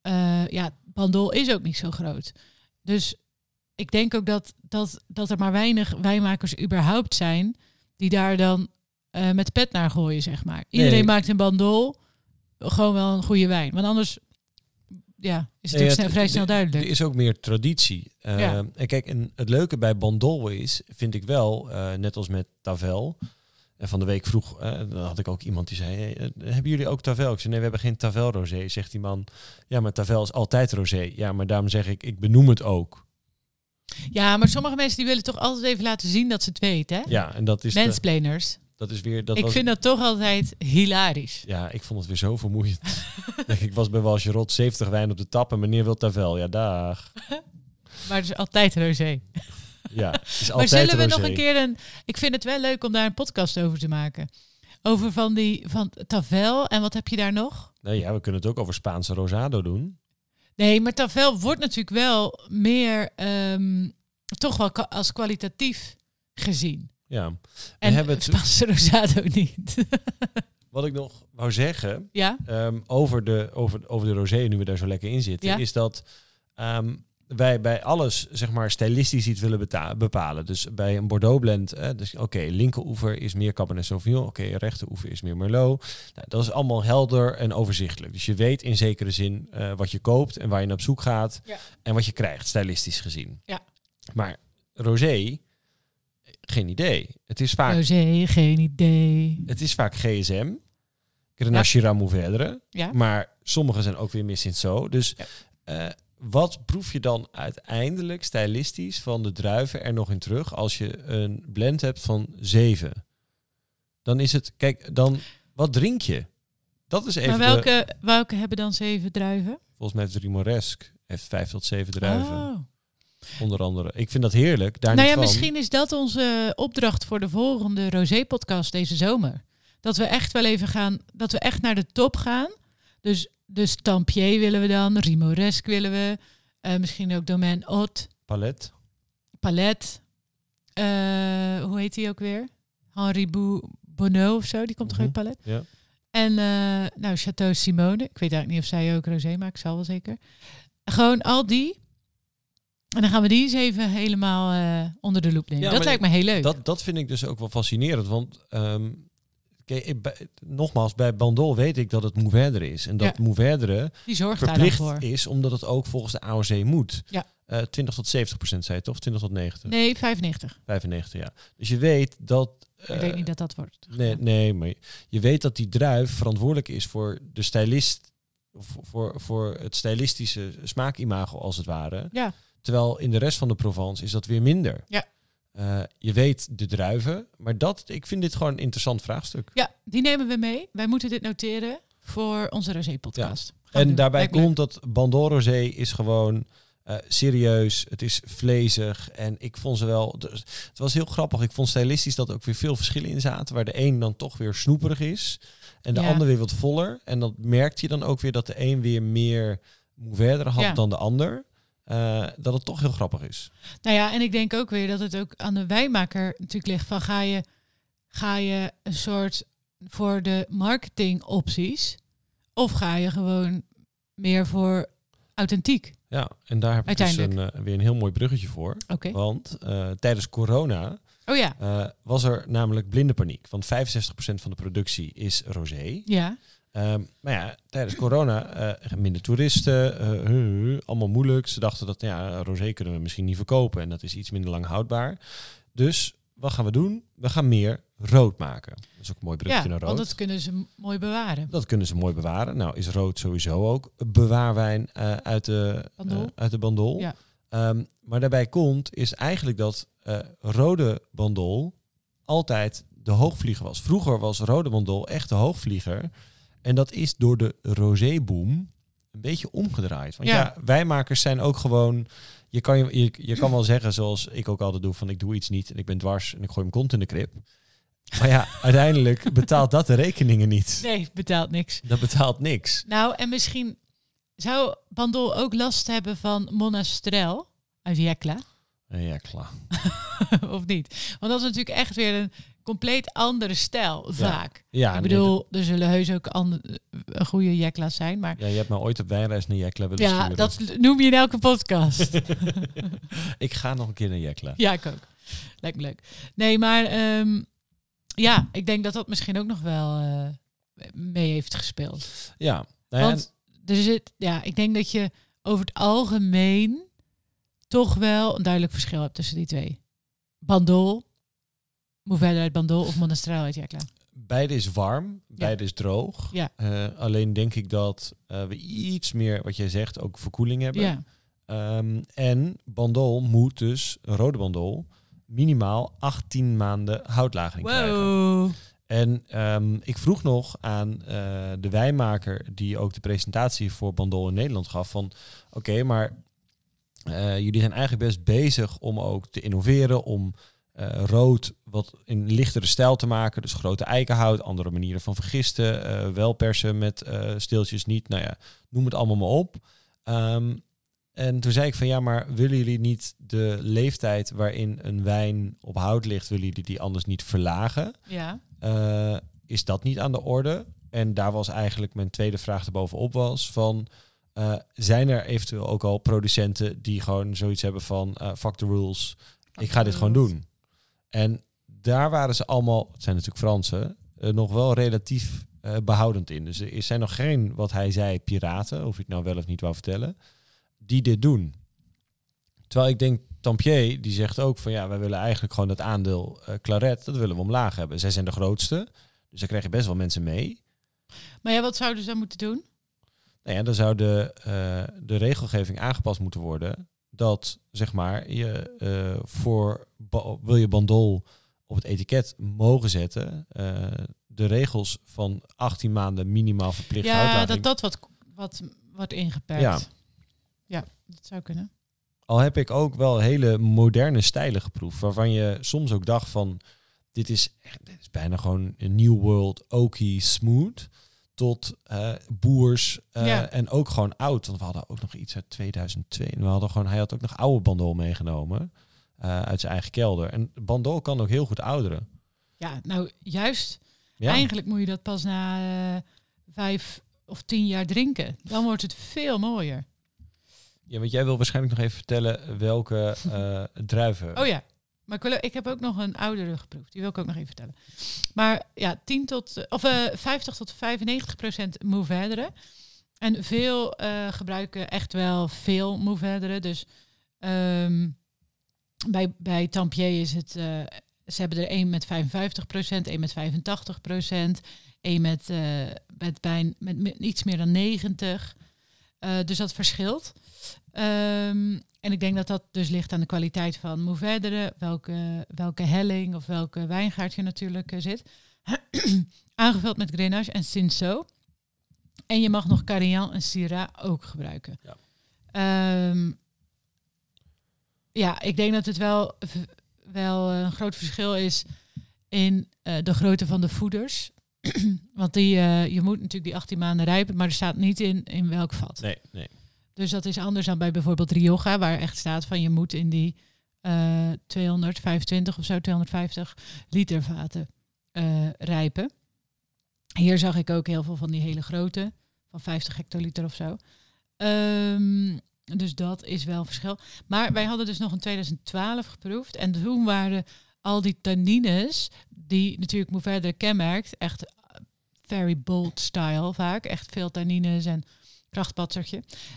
B: eh, ja, Bandol is ook niet zo groot. Dus ik denk ook dat, dat, dat er maar weinig wijnmakers überhaupt zijn die daar dan eh, met de pet naar gooien, zeg maar. Iedereen
A: Nee.
B: maakt in Bandol gewoon wel een goede wijn. Want anders ja, is
A: Nee,
B: het ook
A: het-
B: snel, vrij
A: het-
B: snel duidelijk.
A: Er is ook meer traditie. Eh,
B: Ja.
A: En kijk, en het leuke bij Bandol is, vind ik wel, eh, net als met Tavel. En van de week vroeg, eh, dan had ik ook iemand die zei, hey, eh, hebben jullie ook Tavel? Ik zei, nee, we hebben geen Tavel rosé. Zegt die man, ja, maar Tavel is altijd rosé. Ja, maar daarom zeg ik, ik benoem het ook.
B: ja, maar sommige mensen die willen toch altijd even laten zien dat ze het weten, hè?
A: Ja, en dat is de-
B: Mansplainers.
A: dat is weer... Dat
B: ik
A: was,
B: vind dat toch altijd hilarisch.
A: Ja, ik vond het weer zo vermoeiend. Denk ik was bij Walsjerot 70 wijn op de tap en meneer wil Tavel. Ja, dag.
B: Maar het is altijd rosé.
A: Ja, het is
B: Maar
A: altijd
B: zullen we
A: rosé.
B: nog een keer een... Ik vind het wel leuk om daar een podcast over te maken. Over van die... Van Tavel. En wat heb je daar nog?
A: Nee, ja, we kunnen het ook over Spaanse Rosado doen.
B: Nee, maar Tavel wordt natuurlijk wel meer... ehm, toch wel ka- als kwalitatief gezien.
A: Ja. We
B: En
A: hebben het-
B: Spaanse Rosado niet.
A: Wat ik nog wou zeggen
B: ja?
A: ehm, over, de, over, over de rosé, nu we daar zo lekker in zitten,
B: Ja.
A: is dat ehm, wij bij alles, zeg maar, stylistisch iets willen beta- bepalen. Dus bij een Bordeaux blend, eh, dus oké, linkeroever is meer Cabernet Sauvignon, oké, rechteroever is meer Merlot. Nou, dat is allemaal helder en overzichtelijk. Dus je weet in zekere zin eh, wat je koopt en waar je naar op zoek gaat
B: Ja.
A: en wat je krijgt, stylistisch gezien.
B: Ja.
A: Maar rosé, geen idee. Het is vaak
B: Rosé, geen idee.
A: het is vaak GSM. Grenache ja. Mourvèdre.
B: Ja.
A: Maar sommige zijn ook weer missend zo. Dus
B: Ja.
A: eh, wat proef je dan uiteindelijk stylistisch van de druiven er nog in terug als je een blend hebt van zeven? Dan is het, kijk, dan wat drink je? Dat is even.
B: Maar
A: de-
B: welke, welke hebben dan zeven druiven?
A: volgens mij heeft Rimoresque heeft vijf tot zeven druiven,
B: Oh.
A: onder andere. Ik vind dat heerlijk. Daar
B: Nou
A: niet
B: ja,
A: van.
B: misschien is dat onze opdracht voor de volgende Rosé-podcast deze zomer. Dat we echt wel even gaan, dat we echt naar de top gaan. Dus, dus Tampier willen we dan, Rimoresque willen we, eh, misschien ook Domaine Haute,
A: palet.
B: Palet. eh, hoe heet die ook weer? Henri Bou- Bonneau of zo, die komt toch
A: Mhm,
B: uit Palet?
A: ja.
B: En eh, nou, Chateau Simone, ik weet eigenlijk niet of zij ook rosé maakt, zal wel zeker. Gewoon al die. En dan gaan we die eens even helemaal eh, onder de loep nemen.
A: Ja,
B: dat
A: maar
B: lijkt me heel leuk.
A: Dat, dat vind ik dus ook wel fascinerend. Want ehm, kijk, ik- bij- nogmaals, bij Bandol weet ik dat het Mouverdre is. En dat ja.
B: Die zorgt daar dan
A: verplicht
B: voor.
A: is, omdat het ook volgens de AOC moet.
B: Ja.
A: Eh, 20 tot 70 procent, zei je toch? 20 tot 90,
B: Nee, 95.
A: 95, ja. Dus je weet dat... eh,
B: ik weet niet dat dat wordt.
A: Nee, nee, maar je- je weet dat die druif verantwoordelijk is voor de stylist... Voor, voor, voor het stylistische smaakimago, als het ware.
B: Ja.
A: Terwijl in de rest van de Provence is dat weer minder.
B: Ja.
A: Eh, je weet de druiven, maar dat, ik vind dit gewoon een interessant vraagstuk.
B: Ja, die nemen we mee. Wij moeten dit noteren voor onze rosé-podcast. Gaan we
A: En
B: doen.
A: daarbij
B: Lijkt me leuk.
A: komt dat Bandol Rosé is gewoon eh, serieus. Het is vlezig. En ik vond ze wel... dus Het was heel grappig. Ik vond stylistisch dat er ook weer veel verschillen in zaten. Waar de een dan toch weer snoeperig is. En de
B: Ja.
A: ander weer wat voller. En dat merkte je dan ook weer dat de een weer meer verder had
B: Ja.
A: dan de ander. Eh, dat het toch heel grappig is.
B: Nou ja, en ik denk ook weer dat het ook aan de wijnmaker natuurlijk ligt van ga je, ga je een soort voor de marketingopties of ga je gewoon meer voor authentiek?
A: Ja, en daar heb ik dus een,
B: Uiteindelijk.
A: eh, weer een heel mooi bruggetje voor.
B: Oké.
A: Want eh, tijdens corona
B: Oh ja,
A: eh, was er namelijk blinde paniek. Want 65% van de productie is rosé.
B: ja,
A: Ehm, maar ja, tijdens corona eh, minder toeristen, eh, huh, huh, allemaal moeilijk. Ze dachten dat ja, rosé kunnen we misschien niet verkopen en dat is iets minder lang houdbaar. Dus wat gaan we doen? We gaan meer rood maken. Dat is ook een mooi
B: ja
A: brugje naar rood.
B: want dat kunnen ze m- mooi bewaren.
A: Dat kunnen ze mooi bewaren. Nou, is rood sowieso ook bewaarwijn eh, uit, de,
B: Bandol.
A: eh, uit de bandol.
B: Ja.
A: Ehm, maar daarbij komt, is eigenlijk dat eh, rode bandol altijd de hoogvlieger was. Vroeger was rode bandol echt de hoogvlieger. En dat is door de rosé-boom een beetje omgedraaid. Want ja.
B: Ja.
A: wijnmakers zijn ook gewoon... Je kan, je, je, je kan wel zeggen, zoals ik ook altijd doe, van ik doe iets niet en ik ben dwars en ik gooi mijn kont in de krip. Maar ja, uiteindelijk betaalt dat de rekeningen niet.
B: Nee, betaalt niks.
A: Dat betaalt niks.
B: Nou, en misschien zou Bandol ook last hebben van Monastrel uit Jekla,
A: Eh, Ja, klaar.
B: of niet? Want dat is natuurlijk echt weer een compleet andere stijl, vaak.
A: Ja,
B: ik
A: nee, dat-
B: bedoel, er zullen heus ook ander- eh, goede jekla's zijn, maar
A: ja, je hebt me ooit op wijnreis naar Jekla willen
B: ja,
A: sturen.
B: dat noem je in elke podcast.
A: Ik ga nog een keer naar Jekla.
B: ja, ik ook. Lijkt me leuk. Nee, maar ehm, ja, ik denk dat dat misschien ook nog wel eh, mee heeft gespeeld.
A: Ja. Nou ja,
B: Want er zit, ja, ik denk dat je over het algemeen toch wel een duidelijk verschil hebt tussen die twee. Bandol, hoe verder uit Bandol of Monastraal uit Jekla.
A: beide is warm, beide is droog.
B: Ja.
A: Eh, alleen denk ik dat eh, we iets meer, wat jij zegt, ook verkoeling hebben.
B: Ja,
A: Ehm, en bandol moet dus, een rode bandol, minimaal 18 maanden houtlagering krijgen.
B: Wow.
A: En ehm, ik vroeg nog aan eh, de wijnmaker die ook de presentatie voor Bandol in Nederland gaf van oké, maar eh, jullie zijn eigenlijk best bezig om ook te innoveren, om eh, rood wat in lichtere stijl te maken. Dus grote eikenhout, andere manieren van vergisten, eh, wel persen met eh, steeltjes niet. Nou ja, noem het allemaal maar op. Ehm, en toen zei ik van ja, maar willen jullie niet de leeftijd waarin een wijn op hout ligt, willen jullie die anders niet verlagen?
B: Ja.
A: Eh, is dat niet aan de orde? En daar was eigenlijk mijn tweede vraag erbovenop was van... eh, zijn er eventueel ook al producenten die gewoon zoiets hebben van... eh fuck the rules, ik ga dit gewoon doen. En daar waren ze allemaal, het zijn natuurlijk Fransen... eh, nog wel relatief eh, behoudend in. Dus er zijn nog geen, wat hij zei, piraten... of ik het nou wel of niet wou vertellen... die dit doen. Terwijl ik denk, Tampier die zegt ook van ja, wij willen eigenlijk gewoon dat aandeel eh, claret, dat willen we omlaag hebben. Zij zijn de grootste, dus daar krijg je best wel mensen mee.
B: Maar ja, wat zouden ze dan moeten doen?
A: Nou ja, dan zou de, eh, de regelgeving aangepast moeten worden dat zeg maar je eh, voor ba- wil je bandol op het etiket mogen zetten, eh, de regels van 18 maanden minimaal verplicht
B: Ja,
A: houtlaging.
B: dat dat wat, wat wordt ingeperkt.
A: Ja.
B: Ja. dat zou kunnen.
A: Al heb ik ook wel hele moderne stijlen geproefd, waarvan je soms ook dacht van, dit is, echt- dit is bijna gewoon een New World Oaky Smooth, tot eh, boers eh,
B: Ja.
A: en ook gewoon oud. Want we hadden ook nog iets uit 2002. En we hadden gewoon, hij had ook nog oude bandol meegenomen eh, uit zijn eigen kelder. En bandol kan ook heel goed ouderen.
B: Ja, nou juist.
A: Ja.
B: Eigenlijk moet je dat pas na eh, vijf of tien jaar drinken. Dan wordt het veel mooier.
A: ja, want jij wil waarschijnlijk nog even vertellen welke eh, druiven.
B: Oh ja, maar ik, wil, ik heb ook nog een oudere geproefd. Die wil ik ook nog even vertellen. Maar ja, 10 tot, eh, of, eh 50 tot 95 procent Mourvèdre. En veel eh, gebruiken echt wel veel Mourvèdre. Dus ehm, bij, bij Tampier is het... eh, ze hebben er één met 55 procent, één met 85 procent. één met, eh, met, bijna, met, met iets meer dan 90. Eh, dus dat verschilt. Ehm, en ik denk dat dat dus ligt aan de kwaliteit van Mourvèdre, welke, welke helling of welke wijngaard je natuurlijk eh, zit. Aangevuld met Grenache en Cinsault. En je mag nog Carignan en Syrah ook gebruiken.
A: Ja.
B: Ja, ja ik denk dat het wel, v- wel eh, een groot verschil is in eh, de grootte van de voeders. Want die, eh, je moet natuurlijk die 18 maanden rijpen, maar er staat niet in, in welk vat.
A: Nee, nee.
B: Dus dat is anders dan bij bijvoorbeeld Rioja, waar echt staat van je moet in die eh 225 of zo, 250 liter vaten eh, rijpen. Hier zag ik ook heel veel van die hele grote, van 50 hectoliter of zo. Ehm, dus dat is wel verschil. Maar wij hadden dus nog in 2012 geproefd. En toen waren al die tannines, die natuurlijk moet verder kenmerkt, echt eh, very bold style vaak. Echt veel tannines en krachtpatsertje.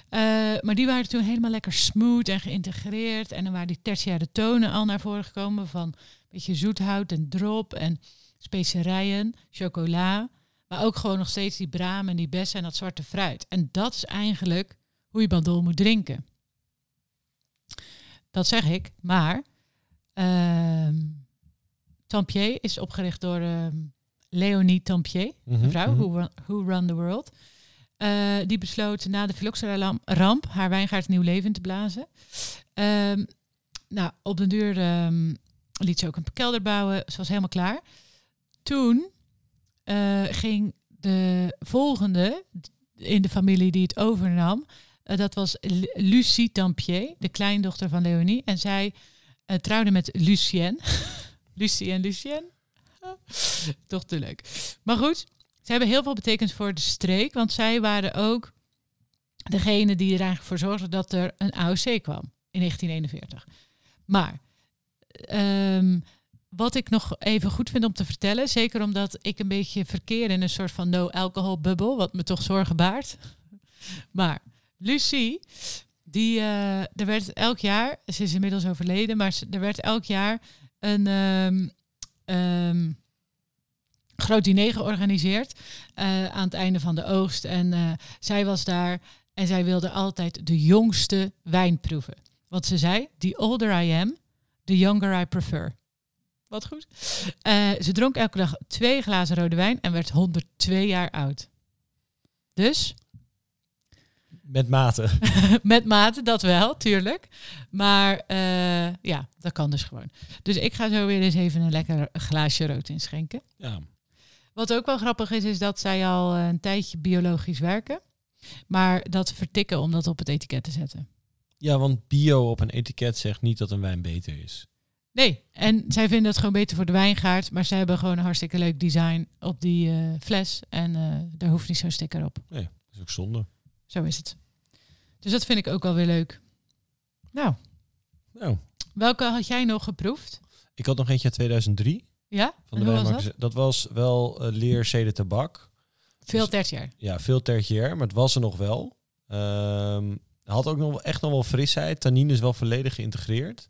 B: Eh, maar die waren toen helemaal lekker smooth en geïntegreerd. En dan waren die tertiaire tonen al naar voren gekomen van een beetje zoethout en drop en specerijen, chocola. Maar ook gewoon nog steeds die bramen, die bessen en dat zwarte fruit. En dat is eigenlijk hoe je bandol moet drinken. Dat zeg ik, maar ehm Tampier is opgericht door ehm, Leonie Tampier
A: Mhm,
B: mevrouw,
A: mhm.
B: who, run, Who Run the World. Eh, die besloot na de Phylloxera-ramp haar wijngaard nieuw leven te blazen. Ehm, nou, op den duur ehm, liet ze ook een kelder bouwen. Ze was helemaal klaar. Toen eh, ging de volgende in de familie die het overnam... eh, dat was L- Lucie Tampier, de kleindochter van Leonie. En zij eh, trouwde met Lucienne. Lucie en Lucienne. Toch te leuk. Maar goed, ze hebben heel veel betekend voor de streek, want zij waren ook degene die er eigenlijk voor zorgden dat er een AOC kwam in 1941. Maar ehm, wat ik nog even goed vind om te vertellen, zeker omdat ik een beetje verkeer in een soort van no-alcohol-bubbel, wat me toch zorgen baart. Maar Lucie, die, eh, er werd elk jaar, ze is inmiddels overleden, maar ze- er werd elk jaar een ehm, ehm, groot diner georganiseerd eh, aan het einde van de oogst. En eh, zij was daar en zij wilde altijd de jongste wijn proeven. Want ze zei, the older I am, The Younger I Prefer. Wat goed. Eh, ze dronk elke dag twee glazen rode wijn en werd 102 jaar oud. Dus
A: Met mate.
B: met mate, dat wel, tuurlijk. Maar eh, ja, dat kan dus gewoon. Dus ik ga zo weer eens even een lekker glaasje rood inschenken.
A: Ja.
B: Wat ook wel grappig is, is dat zij al eh, een tijdje biologisch werken. Maar dat vertikken om dat op het etiket te zetten.
A: ja, want bio op een etiket zegt niet dat een wijn beter is.
B: Nee, en zij vinden het gewoon beter voor de wijngaard. Maar ze hebben gewoon een hartstikke leuk design op die eh, fles. En eh, daar hoeft niet zo'n sticker op.
A: Dat is ook zonde.
B: Zo is het. Dus dat vind ik ook wel weer leuk. Nou,
A: Nou,
B: welke had jij nog geproefd?
A: ik had nog eentje uit 2003
B: Ja?
A: van
B: En
A: de
B: hoe was
A: wijnmaker. Dat? was wel eh, leer, zede, tabak.
B: Veel tertiair.
A: ja, veel tertiair, maar het was er nog wel. Ehm, had ook nog wel echt nog wel frisheid. Tannine is wel volledig geïntegreerd.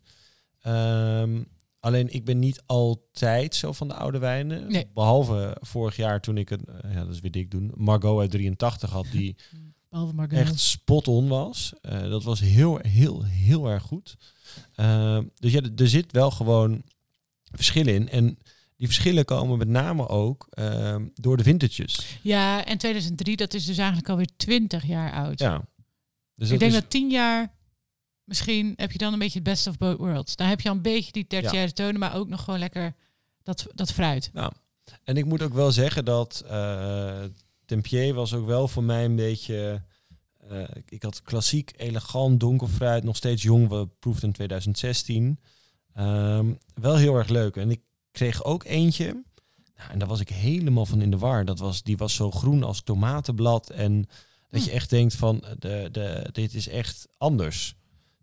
A: Ehm, alleen ik ben niet altijd zo van de oude wijnen.
B: Nee.
A: Behalve vorig jaar toen ik een, eh, ja, dat is weer dik doen, Margot uit 83 had die
B: Behalve Margot.
A: echt spot on was. Eh, dat was heel, heel, heel erg goed. Ehm, dus ja, d- er zit wel gewoon verschillen in. En die verschillen komen met name ook ehm, door de vintages.
B: Ja, en 2003, dat is dus eigenlijk alweer 20 jaar oud.
A: Ja. Dus
B: ik denk
A: is-
B: dat 10 jaar, misschien heb je dan een beetje het best of both worlds. Dan heb je al een beetje die tertiaire tonen, maar ook nog gewoon lekker dat, dat fruit.
A: En ik moet ook wel zeggen dat eh Tempier was ook wel voor mij een beetje... eh, ik had klassiek, elegant, donker fruit, nog steeds jong. We proefden in 2016. Ehm, wel heel erg leuk. En ik kreeg ook eentje. Nou, en daar was ik helemaal van in de war. Dat was, die was zo groen als tomatenblad. En dat
B: Hm.
A: je echt denkt van, eh, de, de, dit is echt anders.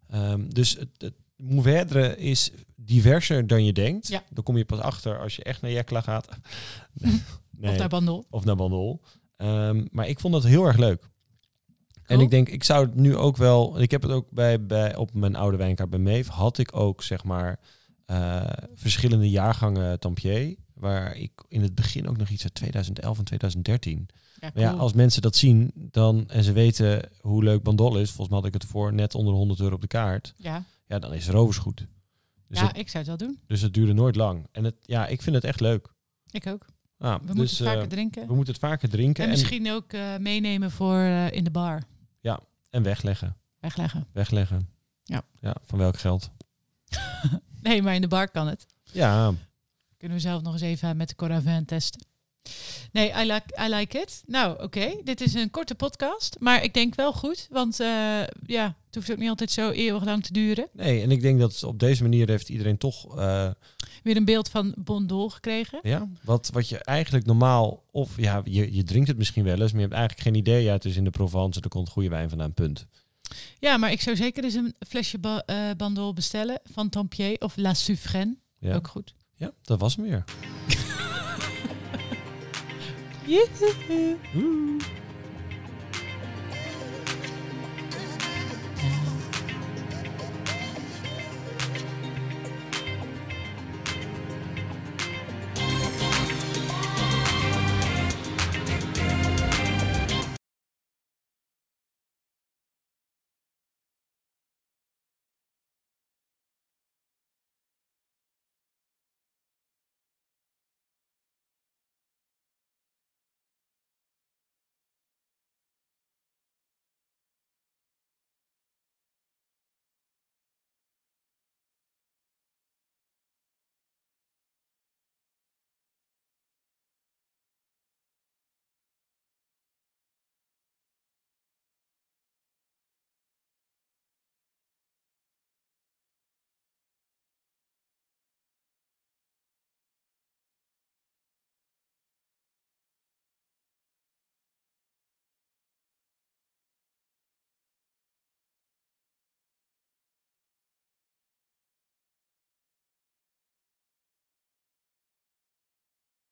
A: Ehm, dus het, het Mourvèdre is diverser dan je denkt.
B: Ja.
A: Daar kom je pas achter als je echt naar Jekla gaat. Nee,
B: Of daar bandel.
A: of naar Bandol. Ehm, maar ik vond dat heel erg leuk. En
B: Cool.
A: ik denk, ik zou het nu ook wel... Ik heb het ook bij, bij, op mijn oude wijnkaart bij Meef... had ik ook, zeg maar, eh, verschillende jaargangen Tampier... waar ik in het begin ook nog iets uit 2011 en 2013...
B: Ja,
A: Maar ja,
B: cool.
A: als mensen dat zien dan, en ze weten hoe leuk Bandol is... volgens mij had ik het voor net onder de 100 euro op de kaart...
B: ja.
A: ja, dan is Rovers goed. Dus,
B: ja
A: het,
B: ik zou het wel doen.
A: dus het duurde nooit lang. En het, ja, ik vind het echt leuk.
B: Ik ook.
A: Nou,
B: We
A: dus,
B: moeten
A: eh,
B: vaker drinken.
A: we moeten het vaker drinken
B: En
A: en,
B: misschien ook eh, meenemen voor eh, in de bar.
A: en wegleggen.
B: Wegleggen.
A: Wegleggen.
B: Ja.
A: ja. Van welk geld?
B: Nee, maar in de bar kan het.
A: Ja,
B: Kunnen we zelf nog eens even met de Coravin testen. Nee, I like, I like it. Nou, oké. Dit is een korte podcast. Maar ik denk wel goed. Want eh, ja, het hoeft ook niet altijd zo eeuwig lang te duren.
A: nee, en ik denk dat op deze manier heeft iedereen toch, eh,
B: Weer een beeld van Bondol gekregen.
A: ja, wat, wat je eigenlijk normaal, of ja, je, je drinkt het misschien wel eens, maar je hebt eigenlijk geen idee, ja, het is in de Provence, er komt goede wijn vandaan, punt.
B: Ja, maar ik zou zeker eens een flesje ba- eh, Bandol bestellen van Tampier of La Suffren.
A: Ja,
B: Ook goed.
A: ja dat was hem weer.
B: Joehoe.
A: Woe.